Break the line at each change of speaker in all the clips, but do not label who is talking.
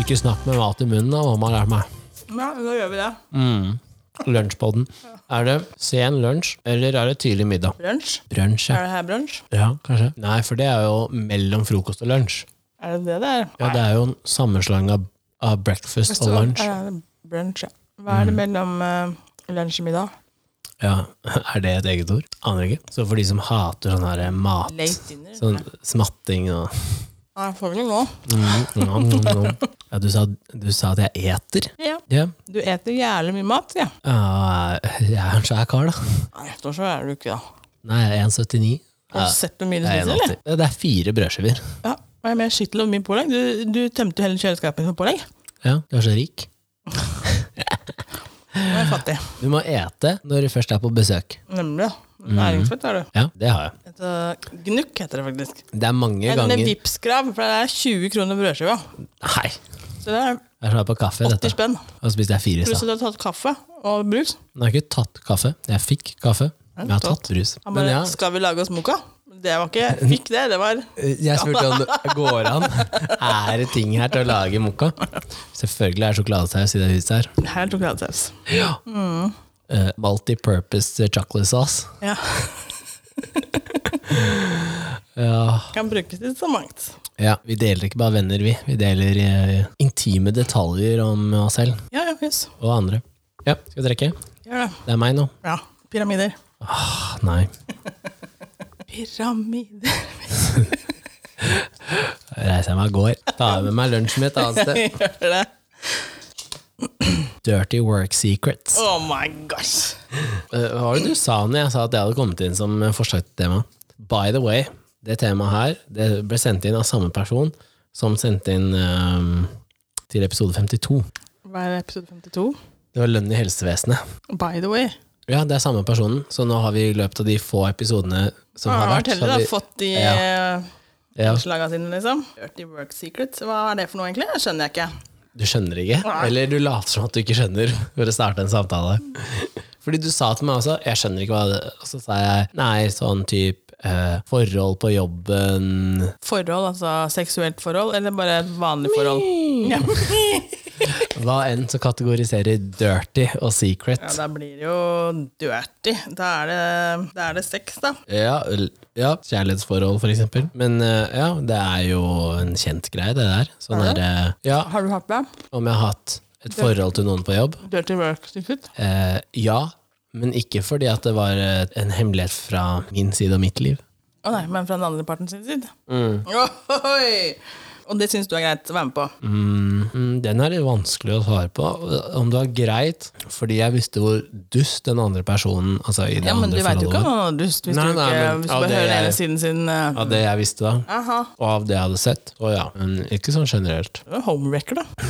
ikke snakk med mat i munnen, da, må man lære meg.
Ja, da gjør vi det.
Lunsjpodden. Er det sen lunsj, eller er det tidlig middag?
Brunsj?
Brunsj,
Er
ja.
det her brunsj?
ja. Kanskje. Nei, for det er jo mellom frokost og lunsj.
Er det det det er?
Ja, det er jo en sammenslåing av, av breakfast og lunsj.
Ja, det er brunsj, ja. Hva
Mhm.
er det mellom eh, lunsj og middag?
Ja, Er det et eget ord? Aner ikke. Så for de som hater sånn her mat,
Late dinner?
sånn smatting og
Nei, får vi det nå.
mm, nom, nom, nom. Ja, du sa, du sa at jeg eter?
Ja.
Ja.
Du eter jævlig mye mat, ja.
Ja, jeg er en svær kar, da.
Nei, etter så er du ikke da.
Nei, jeg er 1,79.
Har du sett hvor mye du
Jeg er
spiser,
1,80.
eller?
Det er fire brødskiver.
Ja, og jeg er mer skittel over mye pålegg. Du, du tømte jo hele kjøleskapet for pålegg.
Ja, du er så rik.
Nå er jeg fattig.
Du må ete når du først er på besøk.
Nemlig.
Mhm.
Næringsfett er du.
Ja, det har jeg.
Et, øh, gnukk heter det faktisk.
Det er mange
En
ganger
Vipps-krav, for det er 20 kroner brødskiva.
Nei,
Så det er
jeg slår på kaffe,
80
dette.
spenn.
Og spiste jeg fire i
Pluss
stad.
at du har tatt kaffe og brus.
Men Jeg har ikke tatt kaffe. Jeg fikk kaffe. Jeg har tatt brus.
Han
Men
bare
ja,
'Skal vi lage oss moka?' Det var ikke jeg Fikk det. Det var
Eh, jeg spurte om det går an. Er det ting her til å lage mokka? Selvfølgelig er det sjokoladesaus i det huset her.
her tok jeg alt saus.
Eh, Multi-purpose chocolate sauce.
Ja.
Ja.
Kan brukes til så mangt.
Ja, Vi deler ikke bare venner, vi. Vi deler eh, intime detaljer om oss selv
Ja, ja, yes.
og andre. Ja, skal vi trekke?
Gjør det.
Det er meg nå.
Ja. Pyramider.
Ah, nei.
Pyramider.
Reiser jeg meg og går. Tar med meg lunsjen min et annet sted.
Gjør det.
Dirty work secrets.
Oh my gosh.
Eh, hva var det du sa når jeg sa at jeg hadde kommet inn som eh, forslag til tema? By the way, det temaet her det ble sendt inn av samme person som sendte inn eh, til episode 52.
Hva er episode 52?
Det var lønn i helsevesenet.
By the way.
Ja, det er samme personen, så nå har vi i løpet av de få episodene som
Har
har
han
vært
vært
så
heldig
har
da,
vi-
fått de
Ja.
ja.
ja,
slaga sine, liksom? Dirty work secrets. Hva er det for noe, egentlig? Det skjønner jeg ikke.
Du skjønner ikke?
Nei.
Eller du later som at du ikke skjønner for å starte en samtale. Fordi du sa til meg også 'jeg skjønner ikke hva det' Og så sa jeg nei, sånn type eh, forhold på jobben
Forhold, altså seksuelt forhold, eller bare et vanlig forhold? Ja.
Hva enn som kategoriserer dirty og secret.
ja, da blir det jo dirty. Da er det, da er det sex, da.
Ja, l- ja, kjærlighetsforhold, for eksempel. Men eh, ja, det er jo en kjent greie, det der. Sånn
Er
er det. Ja,
Har du hatt det?
om jeg har hatt et forhold til noen på jobb?
Dirty work secret?
Eh, ja, men ikke fordi at det var eh, en hemmelighet fra min side og mitt liv.
Å nei, men fra den andre parten sin side. Ohoi! Og det syns du er greit å være med på?
Mm, mm, den er litt vanskelig å svare på. Om det var greit, fordi jeg visste hvor dust den andre personen altså i det
Ja, men du
andre
veit jo ikke
forholdet
om
var.
han har dust hvis
Nei,
du
nei,
ikke
men
hvis
av
du bare
det
hører
jeg-
hele siden sin eh,
Av det jeg visste da,
Aha.
og av det jeg hadde sett. Å ja, men ikke sånn generelt.
Det er Homewrecker, da.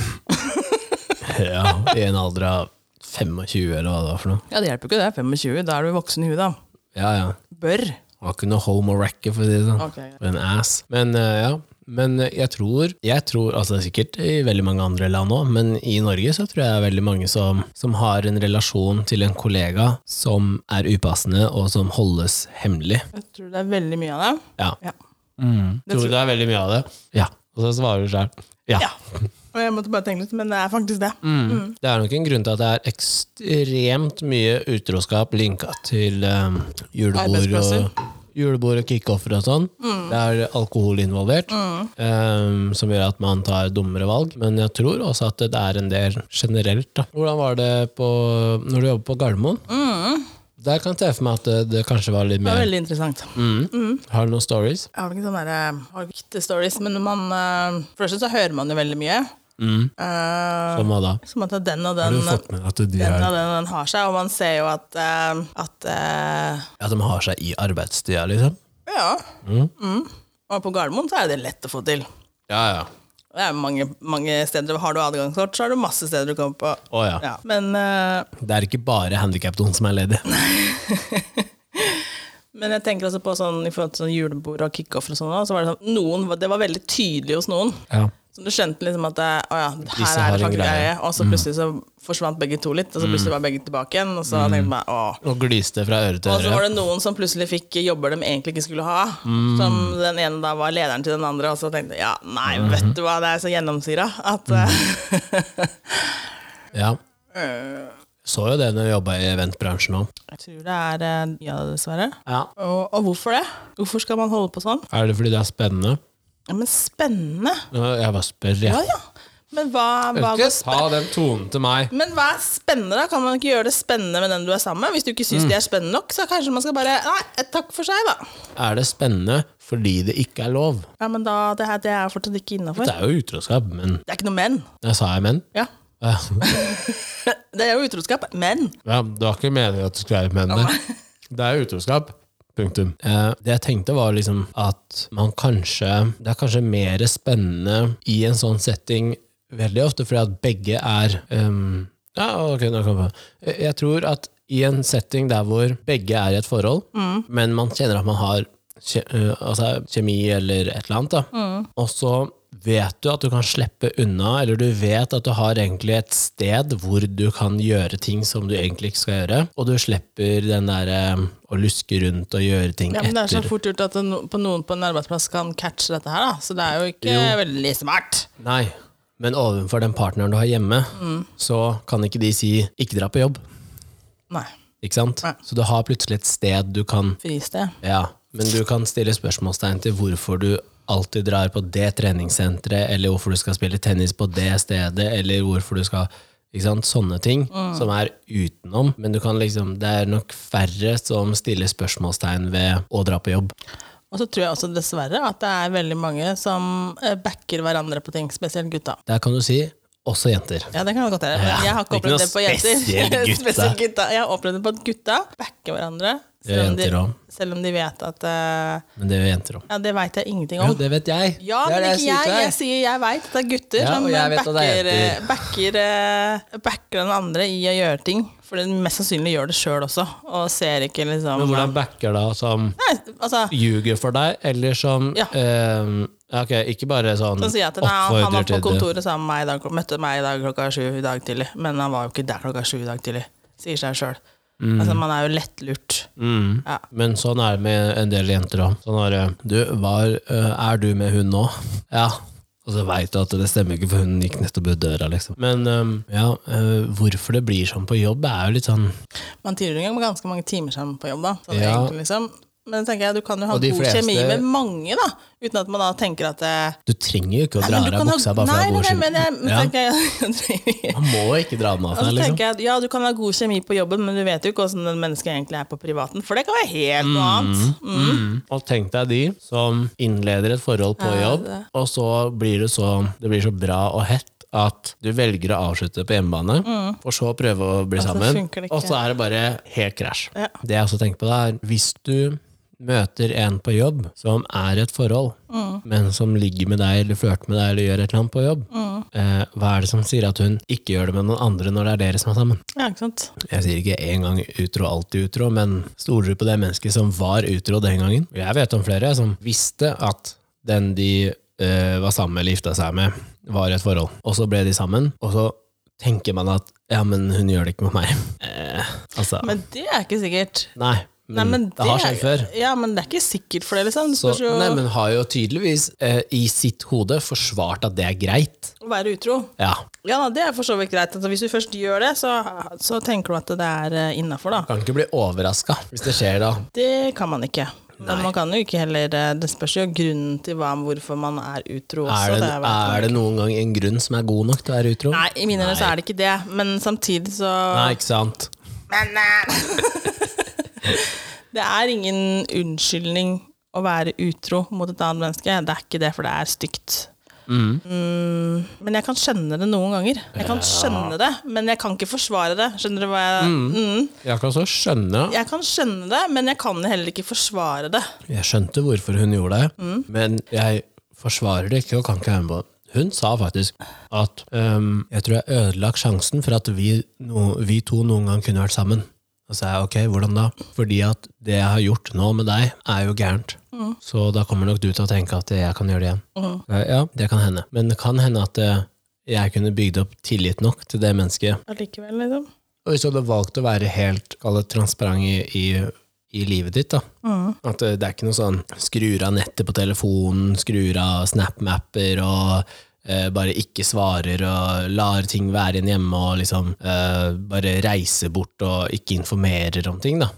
Ja, I en alder av 25, eller hva det var for noe.
Ja, det hjelper jo ikke, det er 25. Da er du voksen i huet, da.
Ja, ja.
Bør.
Det var ikke noe home or wrecker, for å si det sånn.
Ok, greit.
For en ass. Men eh, ja. Men eh, jeg tror, jeg tror altså det er sikkert i veldig mange andre land òg, men i Norge så tror jeg det er veldig mange som, som har en relasjon til en kollega som er upassende, og som holdes hemmelig.
Jeg tror det er veldig mye av det.
Ja.
Ja.
Tror du det er veldig mye av det? Ja. Og så svarer du sjøl. Ja.
Ja. Og jeg måtte bare tenke litt, men det er faktisk det.
Mm. Det er nok en grunn til at det er ekstremt mye utroskap linka til um, julebord
Arbeidsplasser. Mm.
og Julebord og kickoffer og sånn. Det er alkohol involvert, um, som gjør at man tar dummere valg. Men jeg tror også at det er en del generelt. Da. Hvordan var det på, når du jobber på Gardermoen? Der kan jeg se for meg at det, det kanskje var litt
Mm. Det var
mer Mm.
veldig Mm. interessant.
Har du noen stories?
Jeg har ikke sånne der, eh, har ikke ekte stories, men man, eh, for det første så hører man jo veldig mye. Eh,
Som hva da?
som at den og den, den
med at de,
og den, og den har seg, og man ser jo at, eh, at eh,
at de har seg i arbeidstida, liksom?
Ja. Mm. Og på Gardermoen så er det lett å få til.
Ja, ja.
Det er mange, mange steder, Har du adgangskort, så har du masse steder du kommer på.
Å ja.
Ja. Men, eh,
Det er ikke bare handikapdoen som er ledig.
men jeg tenker altså på sånn, i forhold til sånn julebord og kickoff og sånn, også, så var det sånn noen, det var veldig tydelig hos noen.
Ja.
Så du skjønte liksom at det, å ja, her
Disse
er
har
det
en
faktisk
greie.
greie. Og så plutselig så forsvant begge to litt, og så plutselig var begge tilbake igjen. Og så tenkte jeg bare, åh.
Og gliste fra øre til
Og så var
øre.
det noen som plutselig fikk jobber de egentlig ikke skulle ha. Som den ene da var lederen til den andre, og så tenkte jeg ja, nei, vet du hva, det er så gjennomsyra at eh,
Ja.
øh,
Så jo det når jeg jobba i eventbransjen òg.
Jeg tror det er eh, ja, dessverre.
Ja.
Og, og hvorfor det? Hvorfor skal man holde på sånn?
Er det fordi det er spennende?
Ja, men spennende.
Ja, Jeg bare spør, jeg.
Ja, ja. Men hva, hva
Ikke ta den tonen til meg.
Men hva er spennende, da? Kan man ikke gjøre det spennende med den du er sammen med? Hvis du ikke syns det er spennende nok, så kanskje man skal bare Nei, eh, takk for seg, da.
Er det spennende fordi det ikke er lov?
Ja, men da, det, her, det er fortsatt ikke innafor.
Det er jo utroskap, men
Det er ikke noe men.
Jeg sa jeg men.
Ja.
Ja,
Det er jo utroskap, men.
Ja, det var ikke meningen at det skulle være menn der. Det er utroskap. Punktum. Eh, det jeg tenkte, var liksom at man kanskje Det er kanskje mer spennende i en sånn setting veldig ofte, fordi at begge er ehm, Ja, ok, nå kom jeg på. Eh, Jeg tror at i en setting der hvor begge er i et forhold, men man kjenner at man har kje, eh, altså kjemi eller et eller annet, da. og så vet du at du kan slippe unna, eller du vet at du har egentlig et sted hvor du kan gjøre ting som du egentlig ikke skal gjøre, og du slipper den derre å luske rundt og gjøre ting
Ja, men det er sånn så
etter.
fort gjort at det no, på noen på en arbeidsplass kan catche dette her, da. Så det er jo ikke veldig smart.
Nei, men overfor den partneren du har hjemme,
Mm.
så kan ikke de si 'ikke dra på jobb',
Nei.
ikke sant?
Nei.
Så du har plutselig et sted du kan
Fristed.
Ja, men du kan stille spørsmålstegn til hvorfor du alltid drar på det treningssenteret, eller hvorfor du skal spille tennis på det stedet, eller hvorfor du skal ikke sant? Sånne ting
Mm.
som er utenom. Men du kan liksom, det er nok færre som stiller spørsmålstegn ved å dra på jobb.
Og så tror jeg også dessverre at det er veldig mange som eh, backer hverandre på ting, spesielt gutta.
Der kan du si også jenter.
Ja, det kan jeg godt gjøre. men
Ja,
Jeg har
ikke
ikke opplevd
noe
det på jenter.
spesielt gutta.
Spesielt gutta. Jeg har opplevd det på at gutta backer hverandre.
Det gjør
Selv om, de,
jenter også.
selv om de vet at eh,
Men det gjør jenter òg.
Ja, det veit jeg ingenting
Jo,
om.
det vet jeg.
Ja,
det
men
det
ikke
sier
jeg.
til deg.
Jeg sier jeg veit. Det er gutter
Ja,
som
og jeg vet at det er
backer, eh, backer, eh, backer den andre i å gjøre ting. For de mest sannsynlig gjør det sjøl også, og ser ikke liksom
Men hvordan backer da som
Nei, altså
ljuger for deg, eller som
Ja.
eh, Ok, ikke bare sånn
så sier jeg at nei, han- han var
oppfordrer
på
til det.
kontoret sammen med meg i dag, møtte meg i dag klokka sju i dag tidlig. Men han var jo ikke der klokka sju i dag tidlig. Sier seg sjøl. Altså, man er jo lettlurt.
Mm.
Ja.
Men sånn er det med en del jenter òg. Sånn er det. Du, var, øh, er du med hun nå? Ja. Og så veit du at det stemmer ikke, for hun gikk nettopp ut døra, liksom. Men øhm, ja, øh, hvorfor det blir sånn på jobb, er jo litt sånn
Man tilbringer jo ganske mange timer sammen på jobb, da. Sånn,
Ja.
egentlig, liksom. Men tenker jeg, du kan jo ha
Og de
god
fleste-
kjemi med mange, da. Uten at man da tenker at eh,
Du trenger jo ikke å
Nei,
dra
men du
av
kan ha-
buksa bare for å ha
Nei,
god
nei,
kjemi.
men jeg- men
Ja.
tenker jeg-
Man må ikke dra den av
Og så
seg, liksom.
tenker jeg at ja, du kan ha god kjemi på jobben, men du vet jo ikke hvordan den mennesket egentlig er på privaten. For det kan være helt noe annet. Mm.
Mm. Og tenk deg de som innleder et forhold på
Ja,
jobb,
det.
og så blir det så, det blir så bra og hett at du velger å avslutte på hjemmebane, for så prøve å bli
Mm. så
sammen,
funker det ikke.
og så er det bare helt krasj.
Ja.
Det jeg også tenker på da er, hvis du møter en på jobb som er i et forhold,
Mm.
men som ligger med deg eller flørter med deg eller gjør et eller annet på jobb,
Mm.
eh, hva er det som sier at hun ikke gjør det med noen andre når det er dere som er sammen?
Ja, ikke sant?
Jeg sier ikke en gang utro, alltid utro, men stoler du på det mennesket som var utro den gangen? Jeg vet om flere som visste at den de eh, var sammen med eller gifta seg med, var i et forhold. Og så ble de sammen, og så tenker man at ja, men hun gjør det ikke med meg. Eh, altså,
Men det er ikke sikkert.
nei, men,
Nei, men
Mm, det har skjedd før.
Ja, men det er ikke sikkert for det, liksom. Det
Så,
spørs jo
nei, men har jo tydeligvis eh, i sitt hode forsvart at det er greit.
å være utro.
Ja,
Ja, da, det er for så vidt greit. Altså, hvis du først gjør det, så, så tenker du at det er eh, innafor, da.
kan ikke bli overraska hvis det skjer da.
Det kan man ikke. Men man kan jo ikke heller eh, Det spørs jo grunnen til hva, hvorfor man er utro også.
Er det,
vet man
er det noen gang en grunn som er god nok til å være utro?
Nei, i mine øyne så er det ikke det, men samtidig så
Nei, ikke sant?
Men eh, Det er ingen unnskyldning å være utro mot et annet menneske. Det er ikke det, for det er stygt. Mm, men jeg kan skjønne det noen ganger. Jeg kan skjønne det, men jeg kan ikke forsvare det. Skjønner du hva jeg mm.
Jeg kan så skjønne
Jeg kan skjønne det, men jeg kan heller ikke forsvare det.
Jeg skjønte hvorfor hun gjorde det, men jeg forsvarer det ikke og kan ikke være med på det. Hun sa faktisk ehm, at øhm, jeg tror jeg ødelagt sjansen for at vi, no, vi to noen gang kunne vært sammen. Og så sa jeg ok, hvordan da? Fordi at det jeg har gjort nå med deg, er jo gærent. Så da kommer nok du til å tenke at jeg kan gjøre det igjen. Eh, Ja, det kan hende. Men det kan hende at eh, jeg kunne bygd opp tillit nok til det mennesket.
Allikevel, liksom.
Og hvis du hadde valgt å være helt kall det, transparent i, i, i livet ditt, da. At eh, det er ikke noe sånn skrur av nettet på telefonen, skrur av SnapMapper og eh, bare ikke svarer og lar ting være igjen hjemme og liksom eh, bare reiser bort og ikke informerer om ting, da.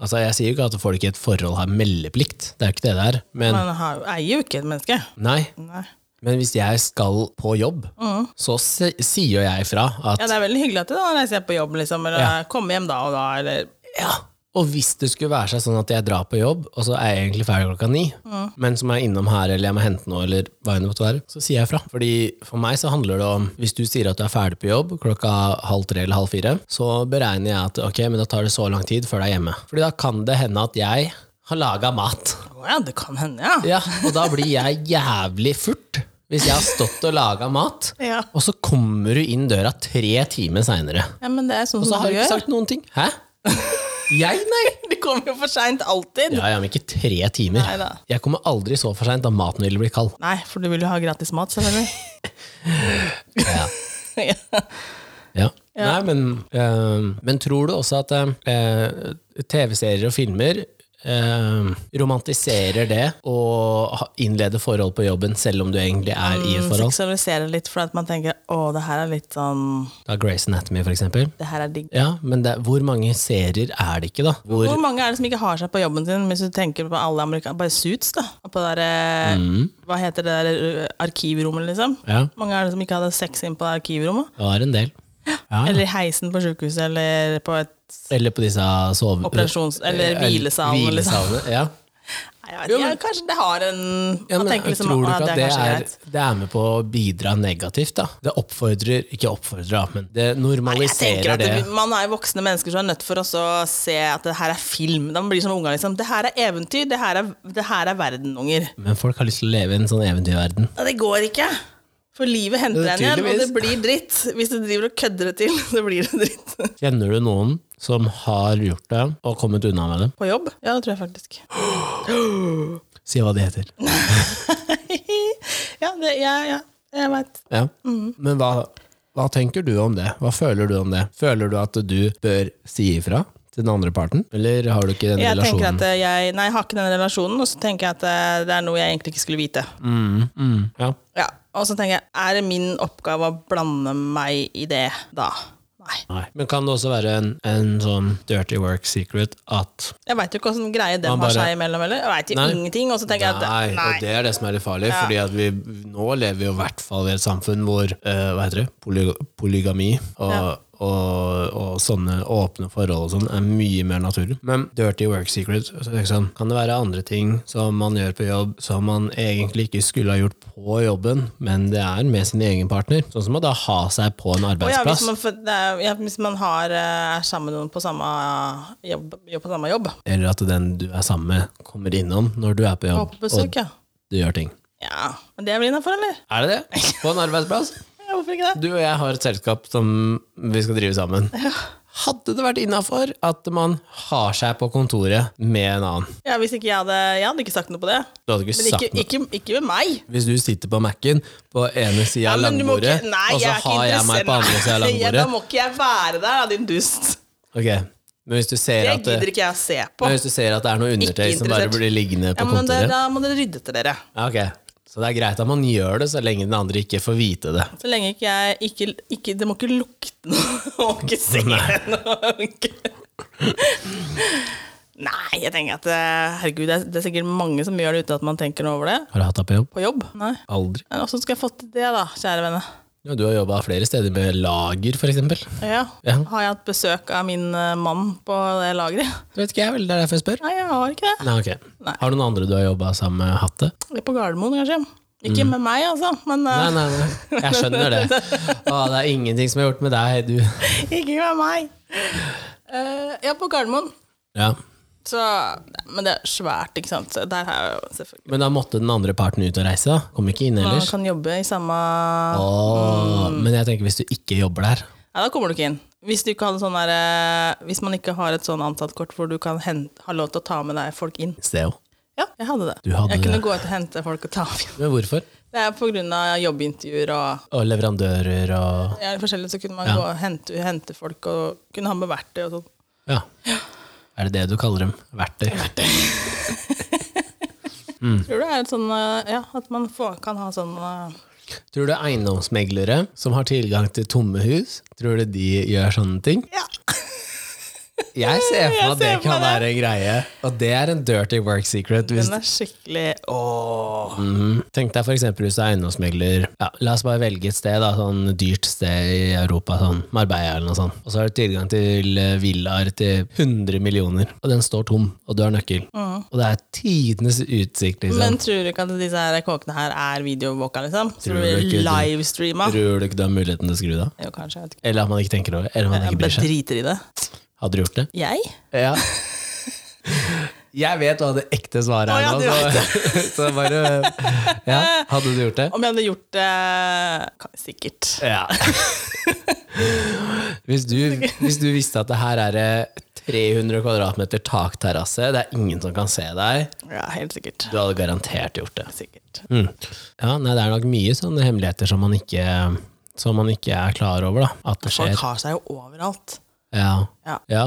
Altså, Jeg sier jo ikke at folk i et forhold har meldeplikt, det er jo ikke det det er. Men
Man har, eier jo ikke et menneske.
nei.
Nei.
Men hvis jeg skal på jobb, så se, sier jo jeg fra at
Ja, det er veldig hyggelig at du da reiser på jobb, liksom, eller kommer hjem da og da, eller
Ja. Og hvis det skulle være seg sånn at jeg drar på jobb, og så er jeg egentlig ferdig klokka ni, men som er innom her, eller jeg må hente noe, eller hva enn det måtte være, så sier jeg fra. Fordi for meg så handler det om, hvis du sier at du er ferdig på jobb klokka halv tre eller halv fire, så beregner jeg at ok, men da tar det så lang tid før du er hjemme. Fordi da kan det hende at jeg har laga mat.
Å ja, det kan hende, ja.
Ja, og da blir jeg jævlig furt. Hvis jeg har stått og laga mat,
Ja.
og så kommer du inn døra tre timer seinere.
ja men det er
Og
sånn
så
som
har
du
du ikke
gjør.
sagt noen ting. Hæ? Jeg, nei?
Du kommer jo for seint alltid.
Ja, ja, men ikke tre timer.
Neida.
Jeg kommer aldri så for seint da maten ville bli kald.
Nei, for du vil jo ha gratis mat, selvfølgelig.
Ja.
ja.
Ja. Nei, men, eh, men tror du også at eh, TV-serier og filmer eh, romantiserer det og ha- innleder forhold på jobben, selv om du egentlig er i et
Mm,
forhold?
Seksualisere litt, for at man tenker å, det her er litt sånn
Da Grace Anatomy, for eksempel.
Det her er digg.
Ja, men det, hvor mange serier er det ikke, da? Hvor,
Hvor mange er det som ikke har seg på jobben sin, hvis du tenker på alle amerikanere Bare Suits, da. Og på det derre
Mm.
Hva heter det der ø, arkivrommet, liksom?
ja,
Hvor mange er det som ikke hadde sex inn på det arkivrommet?
det var en del. Ja.
Eller i heisen på sjukehuset, eller på et
Eller på disse sove...
operasjons... Eller
eh,
hvilesalene, liksom.
hvilesalene, Ja. liksom.
Nei, jeg vet ikke, jeg- kanskje det har en
Ja,
Man
men,
tenker liksom
tror du
«Å,
ikke at det
kanskje
er, det er med på å bidra negativt? da? Det oppfordrer, ikke oppfordrer, da, men det
Jeg tenker
normaliserer
at det,
det.
Man er jo voksne mennesker som er nødt for oss å se at det her er film. De blir som unger. liksom. Det her er eventyr. Det her er, det her er verden, unger.
Men folk har lyst til å leve i en sånn eventyrverden.
Ja, det går ikke. For livet henter
Ja,
en igjen, og det
tydeligvis.
blir dritt. Hvis du driver og kødder det til, så blir det dritt.
Kjenner du noen som har gjort det og kommet unna med det?
På jobb? Ja, det tror jeg faktisk.
Si hva det heter.
ja, det, ja, ja, jeg veit.
Ja.
Mm.
Men hva, hva tenker du om det? Hva føler du om det? Føler du at du bør si ifra til den andre parten, eller har du ikke den
Jeg tenker
relasjonen?
at eh, jeg Nei, jeg har ikke den relasjonen, og så tenker jeg at eh, det er noe jeg egentlig ikke skulle vite.
Mm, ja.
Ja, Og så tenker jeg, er det min oppgave å blande meg i det da? Nei.
Nei. Men kan det også være en, en sånn dirty work secret at
Jeg veit jo ikke åssen greie den
Man
har
bare-
seg imellom, eller? Jeg veit jo
Nei.
ingenting. Og så tenker
Nei,
jeg at
og
nei.
det er det som er litt farlig. Fordi at vi nå lever vi jo i hvert fall i et samfunn hvor eh, hva heter det? Poly polygami og,
Ja.
og, og sånne åpne forhold og sånn er mye mer naturlig. Men dirty work secret så tenker jeg sånn, Kan det være andre ting som man gjør på jobb som man egentlig ikke skulle ha gjort på jobben, men det er med sin egen partner? Sånn som å da ha seg på en
Og ja, hvis
arbeidsplass.
man, får- det er, ja, hvis man har, eh, er sammen med noen på samme jobb, jobb, på samme jobb
Eller at den du er sammen med, kommer innom når du er på
og
jobb
på besøk, ja.
og du gjør ting.
ja. Men det blir innafor, eller?
Er det det? På en arbeidsplass?
Ja, hvorfor ikke det?
Du og jeg har et selskap som vi skal drive sammen. Hadde det vært innafor at man har seg på kontoret med en annen?
Ja, hvis ikke jeg hadde Jeg hadde ikke sagt noe på det.
Du hadde ikke
Men ikke,
sagt noe.
ikke, ikke med meg.
Hvis du sitter på Mac-en på ene sida
Ja,
av
men du må
langbordet,
ikke- nei,
og så
jeg er ikke
har jeg meg på
interessert.
andre sida av
Nei, ja,
langbordet
Da må ikke jeg være der, da, din dust.
Ok, Men hvis du ser
Det
at det,
gidder ikke jeg å se på.
men hvis du ser at det er noe undertøy som bare
interessert.
blir liggende
Ja,
på
men det,
kontoret
da må dere rydde etter dere.
Ja, ok. Så det er greit at man gjør det, så lenge den andre ikke får vite det.
Så lenge ikke jeg ikke, ikke Det må ikke lukte noe, og ikke se
Nei.
noe. og ikke- Nei, jeg tenker at eh, herregud, det er, det er sikkert mange som gjør det uten at man tenker noe over det.
Har du hatt deg på jobb?
På jobb. Nei.
Aldri.
Men Hvordan skal jeg få til det, da, kjære venner?
Ja, du har jobba flere steder med lager, f.eks.
Ja.
Ja.
Har jeg hatt besøk av min eh, mann på det lageret?
Det vet ikke jeg vel, det er derfor jeg spør.
Nei, jeg har ikke det.
Nei, ok.
Nei.
Har du noen andre du har jobba sammen med, hatt det?
Det er på Gardermoen, kanskje. Ikke
Mm.
med meg, altså, men eh,
Nei, nei, nei. Jeg skjønner det. Å, det er ingenting som er gjort med deg, du.
ikke med meg. Eh, ja, på Gardermoen.
Ja.
Så, men det er svært, ikke sant. Så der har jeg jo selvfølgelig
Men da måtte den andre parten ut og reise, da? Kom ikke inn
Man
ellers?
kan jobbe i samme Mm.
Å, men jeg tenker hvis du ikke jobber der
Ja, da kommer du ikke inn. Hvis, du ikke hadde sånn der, eh, hvis man ikke har et sånn ansattkort hvor du kan hen- ha lov til å ta med deg folk inn.
Steo.
Ja, jeg hadde det.
Du hadde
jeg kunne
det.
gå ut og hente folk og ta med inn.
Men hvorfor?
Det er på grunn av jobbintervjuer og
Og leverandører og
ja, forskjellig, så kunne man gå og hente, hente folk og kunne ha med verktøy og sånn.
Ja. Er det det du kaller dem? Verktøy? Mm.
Tror du det er et sånn, eh, ja, at man får, kan ha sånn eh,
Tror du eiendomsmeglere som har tilgang til tomme hus, tror du de gjør sånne ting?
Ja.
Jeg ser for meg
Jeg
at det
ser for
kan
meg
være en greie. Og det er en dirty work secret. Hvis,
Den er skikkelig
Mhm. Tenk deg for eksempel hvis du er eiendomsmegler ja, La oss bare velge et sted, da, sånn dyrt sted i Europa, sånn Marbella eller noe sånt. Og så har du tilgang til eh, villaer til 100 millioner, og den står tom, og du har nøkkel. Og det er tidenes utsikt, liksom.
Mm. Men tror du ikke at disse her kåkene her er videovåka, liksom? Så
Tror
det
du ikke
blir
det?
livestreama?
Tror du ikke du har muligheten til å skru det av?
Jo, kanskje. Jeg vet ikke.
Eller at man ikke tenker over det? Eller at man
Jeg
ikke
bare
bryr seg?
driter i det.
Hadde du gjort det?
Jeg?
Ja. Jeg vet hva det ekte svaret
Å,
er
ja,
nå,
du vet
så, så bare Ja, hadde du gjort det?
Om jeg hadde gjort det ka- Sikkert.
Ja. Hvis du, hvis du visste at det her er eh, 300 kvadratmeter takterrasse, det er ingen som kan se deg,
Ja, helt sikkert.
du hadde garantert gjort det.
Sikkert.
Mm. Ja, nei, det er nok mye sånne hemmeligheter som man ikke, som man ikke er klar over, da. At det skjer.
Folk har seg jo overalt.
Ja.
Ja.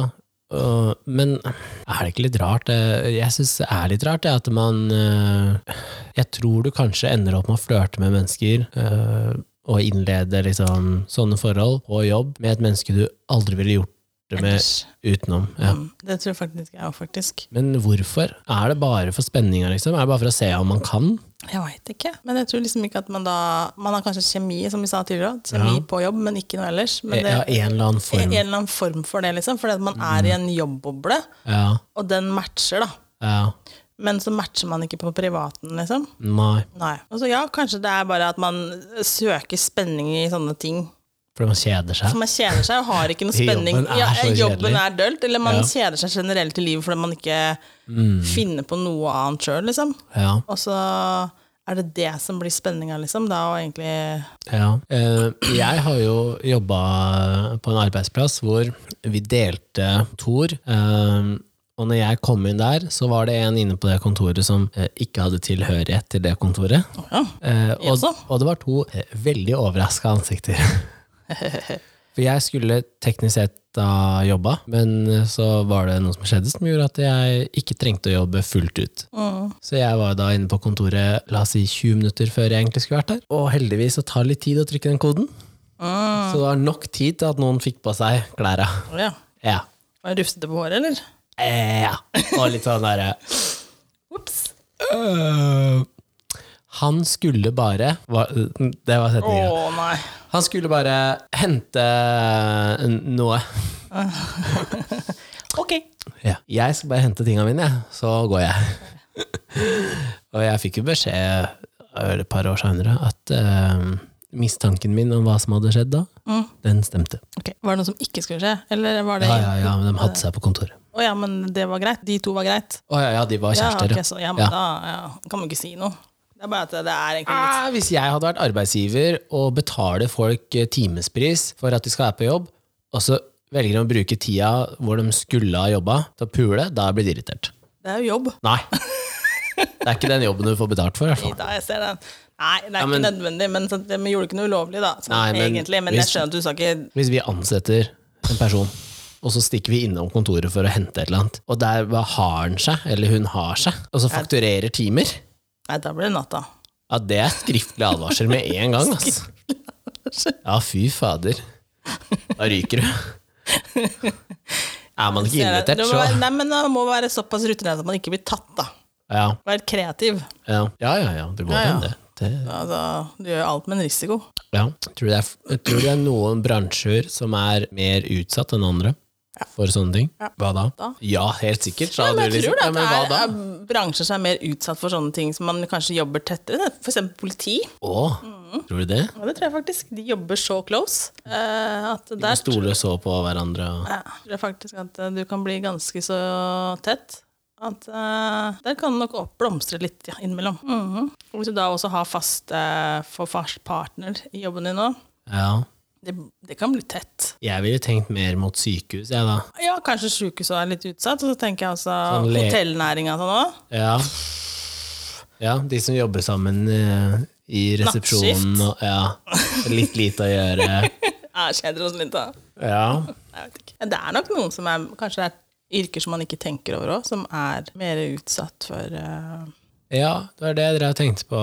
Øh, men er det ikke litt rart? eh, Jeg syns det er litt rart, jeg, at man eh, Jeg tror du kanskje ender opp med å flørte med mennesker. eh, og innlede liksom, sånne forhold på jobb med et menneske du aldri ville gjort det med
Ellers.
utenom. Ja.
Mm, Det tror jeg faktisk jeg òg, faktisk.
Men hvorfor? Er det bare for spenninga, liksom? Er det bare for å se om man kan?
Jeg veit ikke. Men jeg tror liksom ikke at man da Man har kanskje kjemi, som vi sa tidligere, at kjemi på jobb, men ikke noe ellers. Men det
ja, en eller annen
er en
form.
eller annen form for det, liksom. Fordi at man
Mm.
er i en jobbboble,
Ja,
og den matcher, da.
ja.
Men så matcher man ikke på privaten, liksom.
Nei.
Nei. Altså, ja, kanskje det er bare at man søker spenning i sånne ting.
Fordi man kjeder seg.
For man kjeder seg og har ikke noe
Jobben
spenning.
er
Ja,
så kjedelig.
jobben er dølt, eller man
Ja. Mm.
kjeder seg generelt i livet fordi man ikke finner på noe annet sjøl, liksom.
Ja.
Og så er det det som blir spenninga, liksom. Da og egentlig
Ja. Eh, Jeg har jo jobba på en arbeidsplass hvor vi delte kontor. eh, Og når jeg kom inn der, så var det en inne på det kontoret som eh, ikke hadde tilhørighet til det kontoret.
ja.
Eh, Og,
Jaså?
og det var to eh, veldig overraska ansikter. For jeg skulle teknisk sett da jobba, men eh, så var det noe som skjedde som gjorde at jeg ikke trengte å jobbe fullt ut. Så jeg var da inne på kontoret la oss si 20 minutter før jeg egentlig skulle vært der. Og heldigvis så tar det litt tid å trykke den koden. Så det var nok tid til at noen fikk på seg klæra.
ja.
Ja.
Var jeg rufsete på håret, eller?
Eh, ja. Og litt sånn derre
Ops.
øh, Han skulle bare var- Det var
Å
setninga.
nei.
Han skulle bare hente eh, noe.
Ok.
Ja. Jeg skal bare hente tinga mine, jeg. så går jeg. og jeg fikk jo beskjed eh, et par år seinere at eh, mistanken min om hva som hadde skjedd da, den stemte.
Ok. Var det noe som ikke skulle skje? Eller var det
Ja, ja, ja, men de hadde seg på kontoret.
Å ja, men det var greit. De to var greit.
Å ja, ja, de var
Ja,
kjærester.
ok, så, ja, men
Ja.
da ja, kan man ikke si noe. Det er bare at det er egentlig litt
Ah, hvis jeg hadde vært arbeidsgiver og betaler folk eh, timespris for at de skal være på jobb, og så velger de å bruke tida hvor de skulle ha jobba, til å pule, da blir de irritert.
Det er jo jobb.
Nei. Det er ikke den jobben du får betalt for. i hvert fall.
Da, jeg ser den. Nei, det er
men-
ikke nødvendig, men så, de gjorde ikke noe ulovlig, da. Så,
Nei, men
egentlig, men
hvis-
jeg skjønner at du sa ikke
Hvis vi ansetter en person, og så stikker vi innom kontoret for å hente et eller annet, og der bare har han seg, eller hun har seg, og så fakturerer timer,
Nei, da blir det natta.
ja, det er skriftlig advarsel med en gang. ass. Ja, fy fader. Da ryker du. Er man ikke
Ser jeg-
invitert,
det må
så
være, Nei, men det må være såpass rutinert at man ikke blir tatt, da.
ja,
Vær kreativ.
ja, ja, ja, ja, det går
Ja, ja.
an, det. det
Altså, du gjør alt med en risiko.
Ja. Tror du, det er, tror du det er noen bransjer som er mer utsatt enn andre for sånne ting? Hva da?
Da.
Ja, helt sikkert. sa
Nei, men
du
jeg
liksom.
tror det,
Ja,
at
men hva
det
da?
er, er bransjer som er mer utsatt for sånne ting som man kanskje jobber tettere. For eksempel politi.
Å,
Mm.
tror du det?
Ja, det tror jeg faktisk. De jobber så close eh, at der
Stole så på hverandre og
Ja, jeg tror faktisk at eh, du kan bli ganske så tett. At eh, der kan du nok opp- blomstre litt ja, innimellom. Mhm. Og Hvis du da også har fast, eh, for fast partner i jobben din nå,
Ja.
Det, det kan bli tett.
Jeg ville tenkt mer mot sykehus, jeg, da.
Ja, kanskje sykehuset er litt utsatt, og så tenker jeg også
Sånn le-
hotellnæringa sånn òg.
Ja. ja, de som jobber sammen eh, i resepsjonen. Og, ja. Litt lite å gjøre.
Jeg kjeder oss litt, da.
Ja.
Jeg vet ikke. Det er nok noen som er Kanskje det er yrker som man ikke tenker over òg, som er mer utsatt for eh,
ja, det var det jeg drev og tenkte på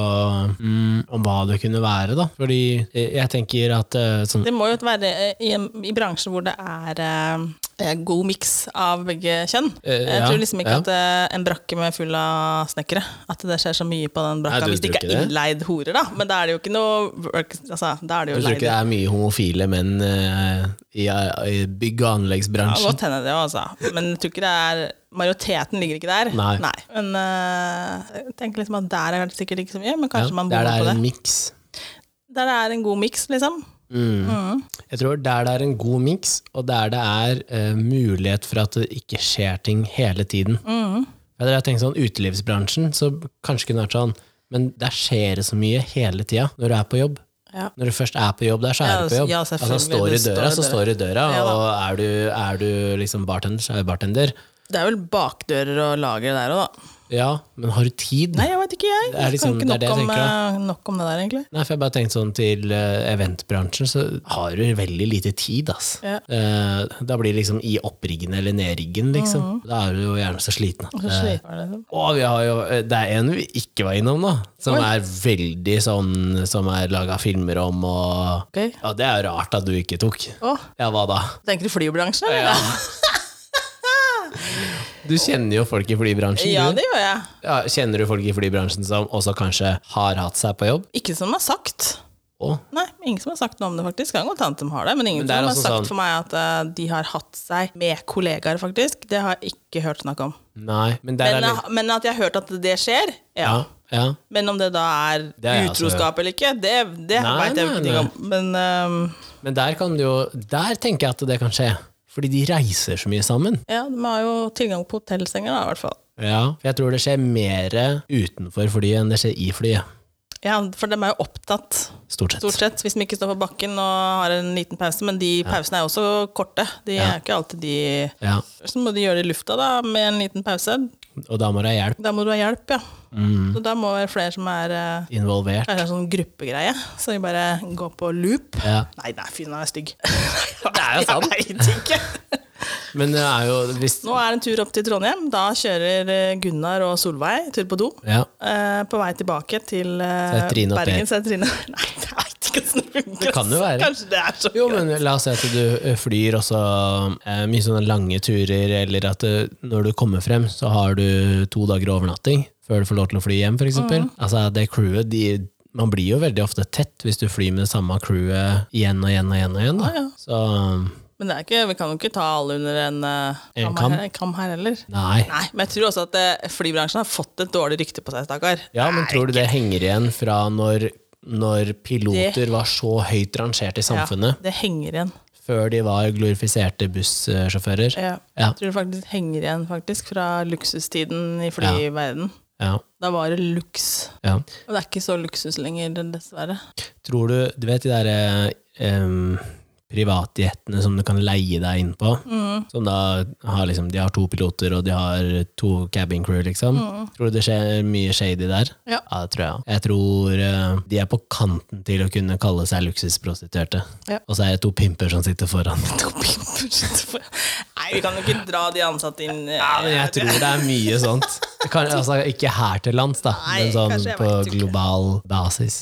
mm, om hva det kunne være, da. Fordi eh, jeg tenker at eh, sånn
Det må jo være eh, i, en, i bransjer hvor det er eh, god miks av begge kjønn.
Eh,
jeg
ja,
tror liksom ikke
ja.
at eh, en brakke med full av snekkere At det skjer så mye på den
Nei,
brakka
du
hvis det
tror
ikke
ikke
er
det?
innleid horer, da. Men da er det jo ikke noe work, altså, Da er det
Jeg
jo
tror ikke det
leid.
er mye homofile menn eh, i, i bygg- og
Ja,
anleggsbransjen.
godt hende det òg, altså. Men jeg tror ikke det er Majoriteten ligger ikke der.
Nei.
Men eh, jeg tenker liksom at der er det sikkert ikke så mye, men kanskje
Ja,
man
der
bor
det er
på det.
en miks.
Der det er en god miks, liksom.
Jeg tror der det er en god miks, og der det er eh, mulighet for at det ikke skjer ting hele tiden.
Mm.
Eller jeg tenker sånn Utelivsbransjen, så kanskje kunne det vært sånn, men der skjer det så mye hele tida når du er på jobb.
Ja.
Når du først er på jobb der, så er
Ja,
du på jobb.
ja,
altså,
selvfølgelig,
står du i
det
døra,
står i
så
døra.
står du i døra.
Ja, da.
og er du, er du liksom bartender, så er du bartender.
Det er vel bakdører og lagre der òg, da.
Ja, men har du tid?
Nei, jeg vet ikke, jeg.
Det er liksom- det er
jeg kan ikke nok,
det jeg tenker,
om, eh, nok om det der, egentlig.
Nei, for jeg bare tenkte sånn til eh, eventbransjen, så har du veldig lite tid, ass.
Ja.
Eh, da blir det liksom i oppriggen eller nedriggen, liksom. Da er du jo gjerne så sliten at
Mhm. Og så
eh,
sliter jeg, liksom.
Å, vi har jo, eh, det er en vi ikke var innom, da. Som
Oi.
er veldig sånn Som er laga filmer om og
Ok.
Ja, det er rart at du ikke tok.
Åh,
Ja, hva da?
tenker du flybransjen,
Ja.
eller?
Du kjenner jo folk i
Ja,
flybransjen. du.
det gjør jeg.
Ja, kjenner du folk i flybransjen som også kanskje har hatt seg på jobb?
Ikke som har sagt.
Å,
Nei, ingen som har sagt noe om det, faktisk. Kan godt hende de har det, men
Men
ingen
det er
som har
altså sånn-
sagt for meg at eh, de har hatt seg med kollegaer, faktisk. Det har jeg ikke hørt snakk om.
nei. Men der
Men,
er
jeg- men at jeg har hørt at det skjer,
Ja,
ja.
ja.
Men om det da er,
Det er jeg også
utroskap eller ikke, det, det
Nei,
veit jeg jo
nei,
ingenting om. Men ehm,
Men der kan du jo Der tenker jeg at det kan skje. Fordi de reiser så mye sammen.
ja, de har jo tilgang på hotellsenger, da, i hvert fall.
Ja, for Jeg tror det skjer mer utenfor flyet enn det skjer i flyet.
Ja, for de er jo opptatt,
Stort sett.
stort sett, hvis de ikke står på bakken og har en liten pause. Men de pausene er jo også korte. De er ikke alltid de
Ja,
Så må de gjøre det i lufta, da, med en liten pause.
Og da må det ha hjelp
Da må du ha hjelp, ja.
Mm.
Så da må det være flere som er eh,
involvert.
Kanskje en sånn gruppegreie, så vi bare går på loop.
Ja.
Nei, nei, fy, nå er jeg stygg.
Det er jo sant.
Jeg vet ikke.
Men det er jo hvis,
Nå er det en tur opp til Trondheim. Da kjører eh, Gunnar og Solveig tur på do.
ja,
Eh, på vei tilbake til
Så
eh,
er Trine opp
Bergen.
der.
Så er Trine Nei, jeg vet ikke hvordan det funker.
Det kan jo være.
Kanskje det er så
Jo, men la oss si at du eh, flyr også eh, mye sånne lange turer, eller at eh, når du kommer frem, så har du to dager overnatting før du får lov til å fly hjem, f.eks.
Mm.
Altså, det crewet, de, man blir jo veldig ofte tett hvis du flyr med det samme crewet igjen og igjen og igjen. og igjen da.
Ah, Ja, ja.
Så
Men det er ikke, vi kan jo ikke ta alle under en, eh,
En
kam,
kam.
her, kam her heller.
nei.
Nei, men jeg tror også at eh, flybransjen har fått et dårlig rykte på seg, stakkar.
Ja, men tror du det henger igjen fra når, når piloter var så høyt rangert i samfunnet,
Ja, det henger igjen.
før de var glorifiserte bussjåfører?
Ja.
Ja.
Jeg tror det faktisk henger igjen faktisk fra luksustiden i flyverden.
Ja.
Da var det luks.
ja.
Og det er ikke så luksus lenger, dessverre.
Tror du Du vet de derre um, privatjettene som du kan leie deg inn på?
Mm.
Som da har liksom De har to piloter, og de har to cabin crew, liksom. Tror du det skjer mye shady der?
Mm. Ja.
det tror jeg. Jeg tror eh, de er på kanten til å kunne kalle seg luksusprostituerte.
Ja.
Og så er det to pimper som sitter foran.
To pimper sitter på- Nei, vi kan jo ikke dra de ansatte inn eh,
Ja, men jeg tror det er mye sånt. Kan, altså, ikke her til lands, da,
Nei,
men sånn
kanskje jeg
på
vet ikke.
global basis.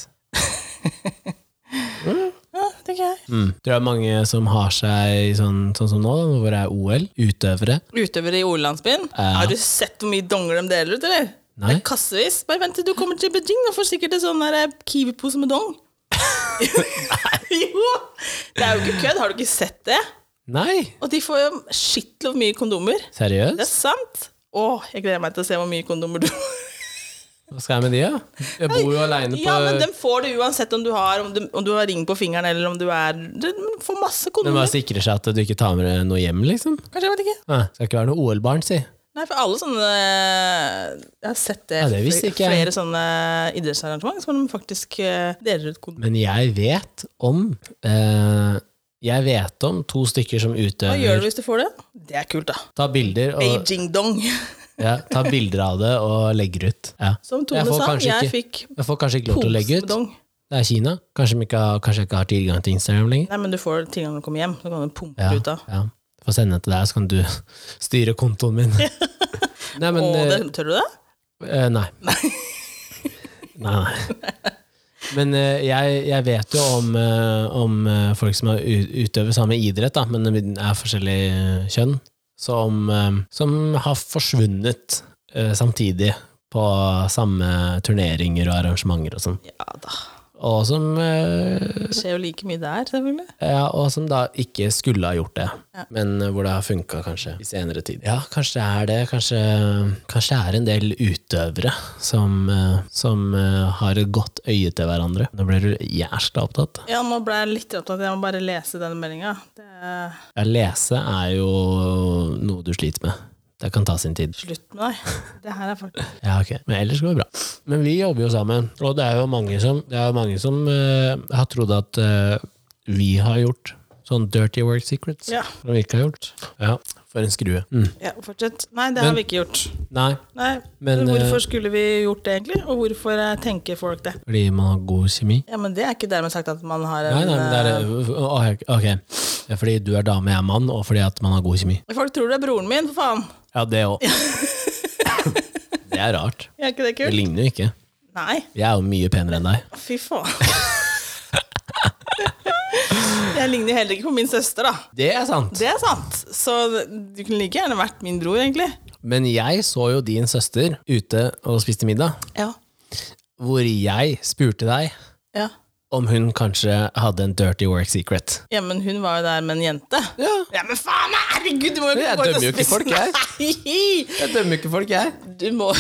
Ja, det tenker jeg.
Mm. Tror det er mange som har seg sånn, sånn som nå, da, hvor det er OL, utøvere.
Utøvere i ordlandsbyen.
Ja.
Har du sett hvor mye donger de deler ut, eller?
Nei.
Det er kassevis. Bare vent til du kommer til Beijing, da får du sikkert en sånn der, eh, kiwi-pose med dong. jo! Det er jo ikke kødd, har du ikke sett det?
Nei!
Og de får jo shitload mye kondomer. Det er
Seriøst?
sant. Å, jeg gleder meg til å se hvor mye kondomer du får.
Hva skal jeg med de, da? Jeg bor jo aleine på
Ja, men dem får du uansett om du har, om du, om du har ring på fingeren eller om du er Du får masse
Men
kondomer.
bare sikrer seg at du ikke tar med deg noe hjem, liksom.
Kanskje, jeg vet ikke.
Nei, skal ikke være noe OL-barn, si.
Nei, for alle sånne eh, Jeg har sett det,
Ja, det visste
fl-
ikke jeg.
flere sånne idrettsarrangement som de faktisk eh, deler ut kondom.
Men jeg vet om eh, Jeg vet om to stykker som
Hva gjør
utøver
du hvis du får det? Det er kult, da.
Ta bilder, og,
Beijing-dong.
ja, ta bilder av det og legger ut. Ja.
Som
Jeg
Tone
får
sa,
kanskje
jeg
ikke-
fikk
Jeg får kanskje ikke lov til å legge ut.
posedong.
Det er Kina. Kanskje, de ikke har, kanskje jeg ikke har tilgang til Instagram lenger.
Nei, men du får det til når du kommer hjem. Så kan du pumpe
Ja,
det ut av.
ja. Få sende det til deg, så kan du styre kontoen min. Nei, men
Og det,
eh,
tør du det?
eh, Nei. Nei, nei. Men eh, jeg, jeg vet jo om, eh, om eh, folk som har u- utøver samme idrett, da, men de er forskjellig eh, kjønn, som, eh, som har forsvunnet eh, samtidig på samme turneringer og arrangementer og sånn.
Ja da.
Og som eh,
Det skjer jo like mye der, selvfølgelig.
Ja, og som da ikke skulle ha gjort det,
Ja.
men eh, hvor det har funka kanskje i senere tid. Ja, kanskje det er det. Kanskje, kanskje det er en del utøvere som, eh, som eh, har et godt øye til hverandre. Nå blir du jævla opptatt.
Ja, nå ble jeg litt opptatt. Jeg må bare lese denne meldinga. Slutt
Ja, lese er jo noe du sliter med. Det kan ta sin tid.
med deg. Det her er faktisk
Ja, ok. Men ellers går det bra. Men vi jobber jo sammen, og det er jo mange som, det er jo mange som eh, har trodd at eh, vi har gjort sånn dirty work secrets.
Ja.
Som vi ikke har gjort. Ja, for en skrue. Mm.
Ja, fortsett. Nei, det har
Men-
vi ikke gjort.
Nei,
Nei,
Men,
Hvorfor
eh,
skulle vi gjort det, egentlig? Og hvorfor eh, tenker folk det?
fordi man har god kjemi.
Ja, men Det er ikke dermed sagt at man har en eh,
Nei, nei, men det er øh, Ok. ok. Det er fordi du er dame, jeg er mann, og fordi at man har god kjemi.
eh, Folk tror du er broren min, for faen!
Ja, det òg. Det er rart.
Er ikke det
Vi
kult?
ligner jo ikke.
Nei.
Jeg er jo mye penere enn deg.
Fy faen. Jeg ligner heller ikke på min søster, da.
Det er sant.
Det er sant. Så du kunne like gjerne vært min bror, egentlig.
Men jeg så jo din søster ute og spiste middag.
Ja.
hvor jeg spurte deg
ja.
om hun kanskje hadde en dirty work secret.
Ja, men hun var jo der med en jente.
Ja.
Ja, men faen, nei, herregud, du må jo
Jeg
gå ut
dømmer jo
og
ikke
spise-
folk, jeg.
Nei,
Jeg dømmer ikke folk, jeg.
du må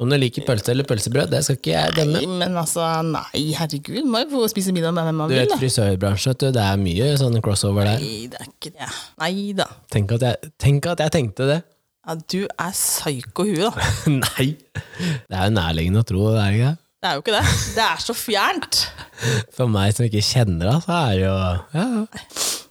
Om du liker pølse eller pølsebrød, det skal ikke jeg dømme.
Men altså, nei, herregud, må jo få spise middag med hvem man
Du
vil,
vet
da.
frisørbransjen, vet du, det er mye sånn crossover der.
Nei, det er ikke det. Nei da.
Tenk at jeg, tenk at jeg tenkte det.
Ja, du er psyko hue, da.
Nei. Det er jo nærliggende å tro, det er det ikke det?
Det er jo ikke det. Det er så fjernt.
For meg som ikke kjenner deg, så er det jo ja. ja.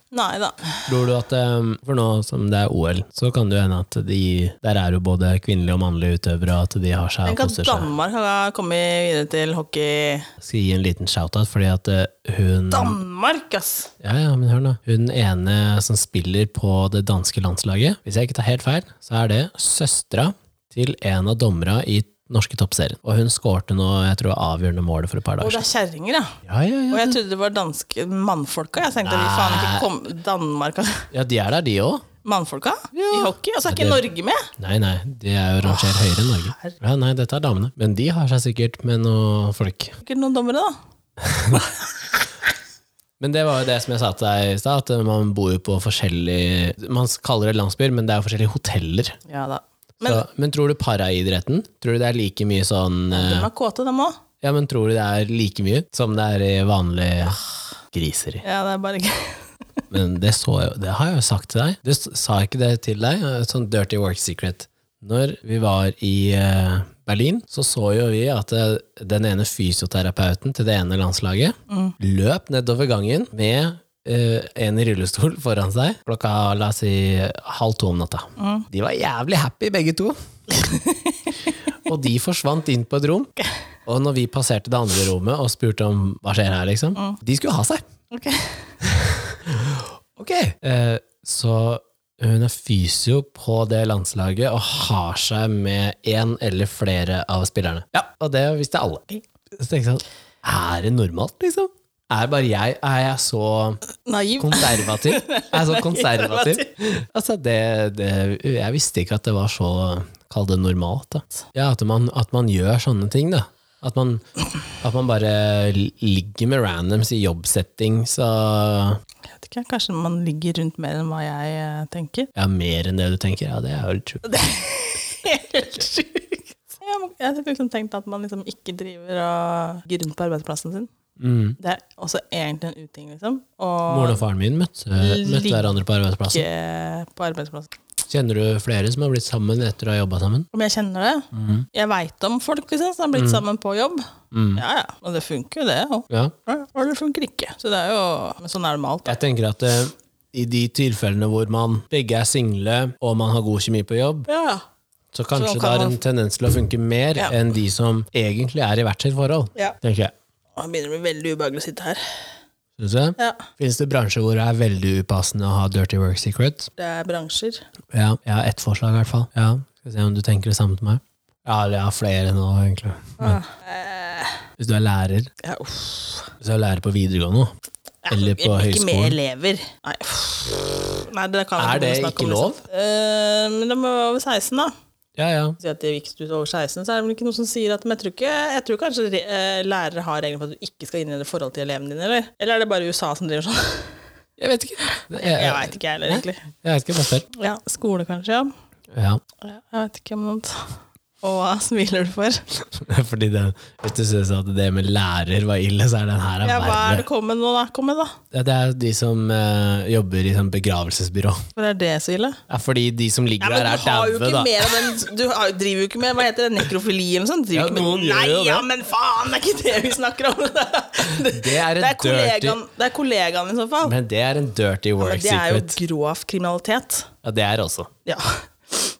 Nei da.
Tror du at um, For nå som det er OL, så kan det jo hende at de Der er jo både kvinnelige og mannlige utøvere, og at de har seg og
Tenk at
koser seg.
Danmark har kommet videre til hockey.
Skal gi en liten shout-out, fordi at eh, hun
Danmark, ass!
Ja, ja, men hør nå. Hun ene som spiller på det danske landslaget, hvis jeg ikke tar helt feil, så er det søstera til en av dommera i norske toppserien. Og hun skårte nå, jeg tror, avgjørende målet for et par
Og
dager
det
siden.
er kjerringer, ja.
Ja, ja,
Og
ja.
jeg trodde det var danske mannfolka. Jeg tenkte vi faen ikke kom Danmark ass.
ja, de er der, de òg.
Mannfolka i hockey? Og så er ikke Norge med!
Nei, nei, de er jo rangert høyere enn Norge. Ja, nei, dette er damene. Men de har seg sikkert med noen folk.
Ikke noen dommere, da.
Men det var jo det som jeg sa til deg i stad, at man bor jo på forskjellige Man kaller det landsbyer, men det er jo forskjellige hoteller.
Ja da.
Men,
Men
så, men tror du paraidretten? Tror du det er like mye sånn eh,
de er kåte, dem òg.
Ja, men tror du det er like mye som det er i vanlig griseri?
Ja, det er bare ikke
Men det, så jeg, det har jeg jo sagt til deg. Du s- sa ikke det til deg, eh, sånn dirty work secret. Når vi var i eh, Berlin, så så jo vi at eh, den ene fysioterapeuten til det ene landslaget løp nedover gangen med eh, en i rullestol foran seg klokka la oss si halv to om natta. De var jævlig happy, begge to. Og de forsvant inn på et rom. Og når vi passerte det andre rommet og spurte om hva skjer her, liksom, de skulle ha seg.
Ok.
Ok. Eh, så hun er fysio på det landslaget og har seg med én eller flere av spillerne. Ja, Og det visste alle. Så tenkte jeg sånn, er det normalt, liksom? Er bare jeg, er jeg så
Naiv.
konservativ? Er jeg så konservativ? Altså, det, det, jeg visste ikke at det var så, kall det normalt da. Ja, at man, at man gjør sånne ting da. At man, at man bare ligger med randoms i jobbsetting, så
Jeg vet ikke, Kanskje man ligger rundt mer enn hva jeg eh, tenker.
Ja, mer enn det du tenker. Ja, det er jo true.
Helt sjukt. Jeg må- jeg har liksom tenkt at man liksom ikke driver og ligger rundt på arbeidsplassen sin.
Mm.
Det er også egentlig en uting, liksom.
Moren
Og
og faren min møtte, møtte
Ligge.
hverandre på arbeidsplassen.
ikke på arbeidsplassen.
Kjenner du flere som har blitt sammen etter å ha jobba sammen?
Om jeg kjenner det? Jeg veit om folk ikke sant, som har blitt sammen på jobb. Ja, ja. Og det funker jo, det òg.
Ja.
Og det funker ikke. Så det er jo, men sånn er det med alt. da.
Jeg tenker at eh, i de tilfellene hvor man begge er single og man har god kjemi på jobb,
Ja,
så kanskje
Så kan
det er
man-
en tendens til å funke mer
Ja.
enn de som egentlig er i hvert sitt forhold.
Ja.
Tenker jeg.
Å, Det begynner å bli veldig ubehagelig å sitte her.
Synes jeg.
Ja,
Finnes det bransjer hvor det er veldig upassende å ha dirty work secrets?
Det er bransjer.
Ja, jeg har ett forslag i hvert fall. Ja. Skal se om du tenker det samme til meg. Ja, eller jeg har flere nå, egentlig. Men,
Eh,
hvis du er lærer,
Ja, uff.
hvis du er lærer på videregående, eller på
Ikke med
høyskolen
elever. Nei, uff. Nei det kan jeg
Er det
begynne å snakke
ikke
om,
lov?
liksom. Eh, men de må være over 16, da.
Ja, ja.
Si at det gikk ut over 16, så er det vel ikke noen som sier at Men jeg tror, ikke, jeg tror kanskje re- eh, lærere har regler for at du ikke skal innlede forhold til elevene dine, eller? Eller er det bare USA som driver sånn?
Jeg vet ikke. Jeg,
Jeg
jeg,
veit ikke, jeg heller, egentlig.
jeg vet ikke, bare spør.
Ja, skole, kanskje, ja.
Ja.
Ja, Jeg veit ikke om noe annet. Og hva smiler du for?
Fordi det, hvis du synes at det med lærer var ille, så er den her
Ja, hva er
verre.
det kom med nå, da? Kom med, da.
Ja, det er de som eh, jobber i sånn begravelsesbyrå.
For det er det så ille?
Ja, fordi de som ligger
Ja, men
der,
du har
er daue,
jo ikke
da.
mer av den Du har, driver jo ikke med hva heter det, nekrofili eller noe sånt? Driver
Ja,
ikke med-
noen gjør
Nei,
jo det.
ja, men faen, det er ikke det vi snakker om! Det,
Det er en
det er
dirty
kollegaen, det er kollegaen i så fall.
Men det er en dirty work
Men det er jo
secret.
grov kriminalitet.
Ja, det er også.
Ja.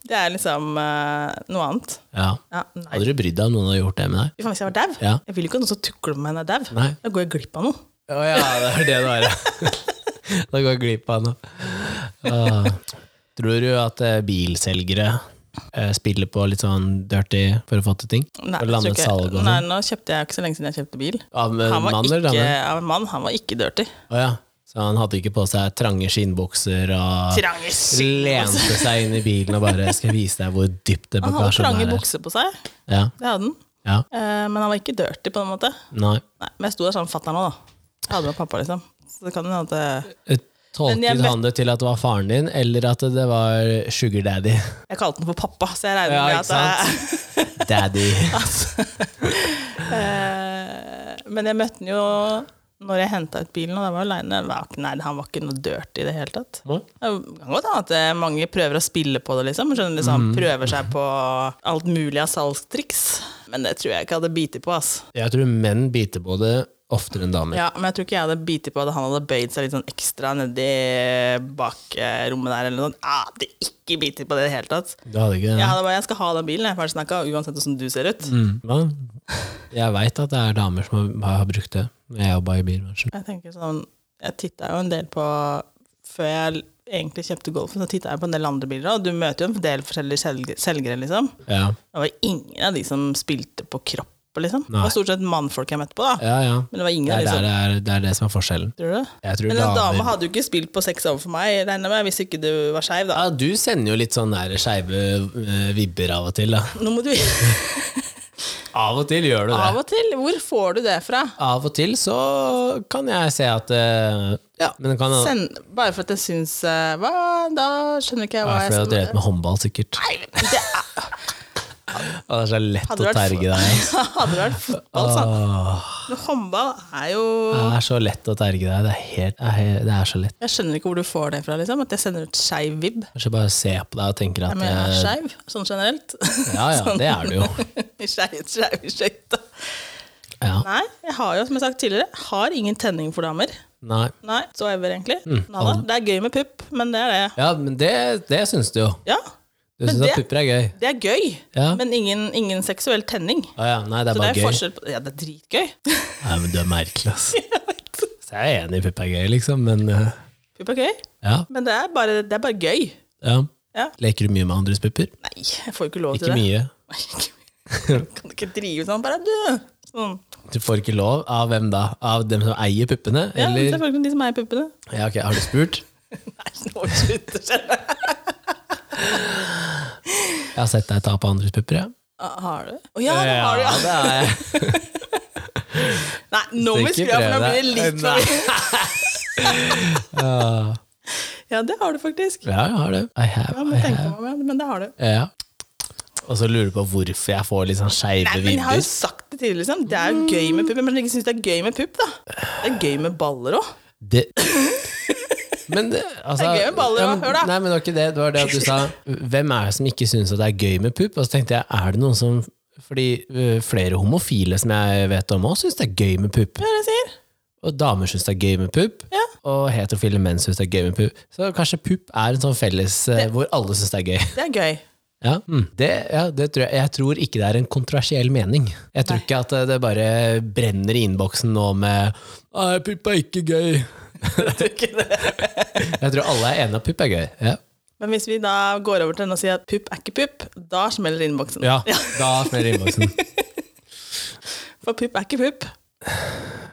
Det er liksom eh, noe annet.
Ja.
Ja, nei.
Hadde du brydd deg om noen hadde gjort det med deg?
Fy faen, hvis jeg var dau
Ja.
Jeg vil jo ikke at noen som tukler med meg når jeg er dau.
Nei.
Da går jeg glipp av noe.
Å ja, det er det det var. ja. da går jeg glipp av noe. Ah. Tror du at eh, bilselgere eh, spiller på litt sånn dirty for å få til ting?
Nei,
For å
jeg
lande
tror
et
ikke-
salg og
nei,
sånn?
nå kjøpte jeg ikke så lenge siden jeg kjøpte bil.
Av eh,
Han var
mann eller
ikke
dame?
av en mann. Han var ikke dirty.
Å ja. Så han hadde ikke på seg trange skinnbukser og
Trange
lente seg inn i bilen og bare 'skal jeg vise deg hvor dypt det
Han hadde trange
bagasjerommet er'.
bukser på seg.
Ja,
Det hadde han.
ja,
Eh, men han var ikke dirty på den måte.
nei.
Nei, men jeg sto der sammen med fatter'n òg, da. Jeg hadde med pappa, liksom. Så det kan hende at eh, Men
Tolket
jeg møtte-
han det til at det var faren din, eller at det var sugar daddy?
Jeg kalte den for pappa, så jeg regner
Ja,
med
ikke
at jeg,
sant? Daddy.
Eh, Men jeg møtte han jo når jeg henta ut bilen, og jeg var aleine. Nei, han var ikke noe dirty i det hele tatt. Det kan godt hende at eh, mange prøver å spille på det, liksom. Skjønner
Mhm.
du, liksom Prøver seg på alt mulig av salgstriks. Men det tror jeg ikke jeg hadde biti på. ass.
Jeg tror menn biter på det oftere enn damer.
Ja, Men jeg tror ikke jeg hadde biti på at han hadde bøyd seg litt sånn ekstra nedi bakrommet der. eller noe sånt. Jeg hadde ikke biti på det i det hele tatt.
Du hadde ikke
Jeg
det?
hadde bare, jeg skal ha den bilen, jeg er ferdig snakka, uansett hvordan du ser ut.
Mm. Hva? Jeg veit at det er damer som har, har brukt det. Jeg jobba i bilbransjen.
Jeg tenker sånn, jeg titta jo en del på Før jeg egentlig kjøpte Golfen, så titta jeg på en del andre biler, og du møter jo en del forskjellige selg- selgere, liksom.
Ja,
Det var ingen av de som spilte på kroppen, liksom. Det
Nei.
var stort sett mannfolk jeg møtte på, da.
ja. ja.
Men det var ingen
Det,
av
er, der
de som
det, er, det er det som er forskjellen.
Tror du det?
Jeg tror
Men en dame
damer
hadde jo ikke spilt på sex overfor meg, regner jeg med, hvis ikke du var skeiv, da.
Ja, du sender jo litt sånn der skeive eh, vibber av og til, da.
Nå må du
Av og til gjør du det.
Av og til, hvor får du det fra?
Av og til så kan jeg se at eh, Ja, men det kan Hva
Send, bare for at jeg syns eh, Hva? Da skjønner ikke jeg hva
er fordi
jeg
du har drevet med håndball, sikkert.
Nei, det er
Og det er så lett
Hadde
å
det vært sånn.
terge deg. Ah.
Hadde det vært fotball, sant?
Åh,
Men håndball er jo
det er så lett å terge deg. Det er, helt, det er helt- det er så lett.
Jeg skjønner ikke hvor du får det fra, liksom. At jeg sender ut skeiv vibb.
Kanskje bare se på deg og tenker at
Men jeg er
eh,
skeiv, sånn generelt. Sånn.
Ja, ja, det er du jo.
I skeiv- skeiv skøyta.
Ja.
Nei, jeg har jo, som jeg har sagt tidligere, har ingen tenning for damer.
Nei.
Nei, så ever, egentlig.
Mm,
Nada. Det er gøy med pupp, men det er det.
Ja, men det, det syns du jo.
Ja,
Du
Men
syns at
det-
pupper er gøy.
det er gøy,
Ja.
men ingen, ingen seksuell tenning.
Å ja, nei, det er
Så det
bare
er
gøy.
forskjell på Ja, det er dritgøy.
Nei, men du er merkelig, ass. Så jeg er enig i pupp er gøy, liksom, men eh,
Pupp er gøy,
ja.
men det er bare, det er bare gøy.
ja.
Ja.
Leker du mye med andres pupper?
Nei, jeg får jo ikke lov
Ikke
til det.
mye.
Nei, kan du ikke drive sånn? Bare du! Sånn.
Du får ikke lov av hvem da? Av dem som eier puppene?
Ja,
eller?
selvfølgelig de som er i puppene.
Ja, ok, Har du spurt?
Nei, nå slutter det.
Jeg har sett deg ta på andres pupper, ja.
Ah, Har du? Å ja, det har du, ja.
det har jeg.
Nei, nå må vi skru av, for nå blir det litt sånn. for mye. Ja, det har du faktisk.
Ja, jeg har det. I have,
Ja, må
I
tenke
have.
meg om, ja, men det har du.
Ja. Og så lurer du på hvorfor jeg får litt sånn skeive
Nei, men jeg har
vibber.
jo sagt det tidligere, liksom. Det er jo gøy med pupp. Men jeg ikke syns det er gøy med pupp, da. Det er gøy med baller òg.
Det Men det, altså,
Det er gøy med baller,
ja, men-
da. Hør da.
Nei, men det var ikke det. Det var det at du sa Hvem er det som ikke syns at det er gøy med pupp? Og så tenkte jeg, er det noen som Fordi øh, flere homofile som jeg vet om òg, syns det er gøy med pupp.
Hva er det jeg sier?
Og damer syns det er gøy med pupp.
Ja.
Og heterofile menn syns det er gøy med pupp. Så kanskje pupp er en sånn felles øh, hvor alle syns det er gøy.
Det er gøy.
Ja, mm. det, ja, det tror jeg. jeg tror ikke det er en kontroversiell mening. Jeg tror ikke at eh, det bare brenner i innboksen nå med Nei, pupp er ikke gøy. jeg tror alle er enige at pupp er gøy. Ja,
Men hvis vi da går over til den og sier at pupp er ikke pupp, da smeller innboksen.
ja da smeller innboksen.
For pupp er ikke pupp.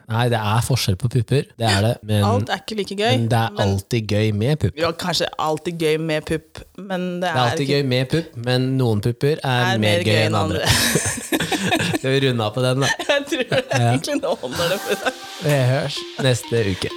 Nei, det er forskjell på pupper. Det er det. Men,
Alt er ikke like gøy.
men det er alltid gøy med pupp.
Ja, kanskje alltid gøy med pupp, men det er,
Det er alltid
ikke-
gøy med pupp, men noen pupper er,
er
mer gøy enn andre. Skal vi runde av på den, da?
Jeg tror det egentlig nå holder det for i dag.
Vi høres neste uke.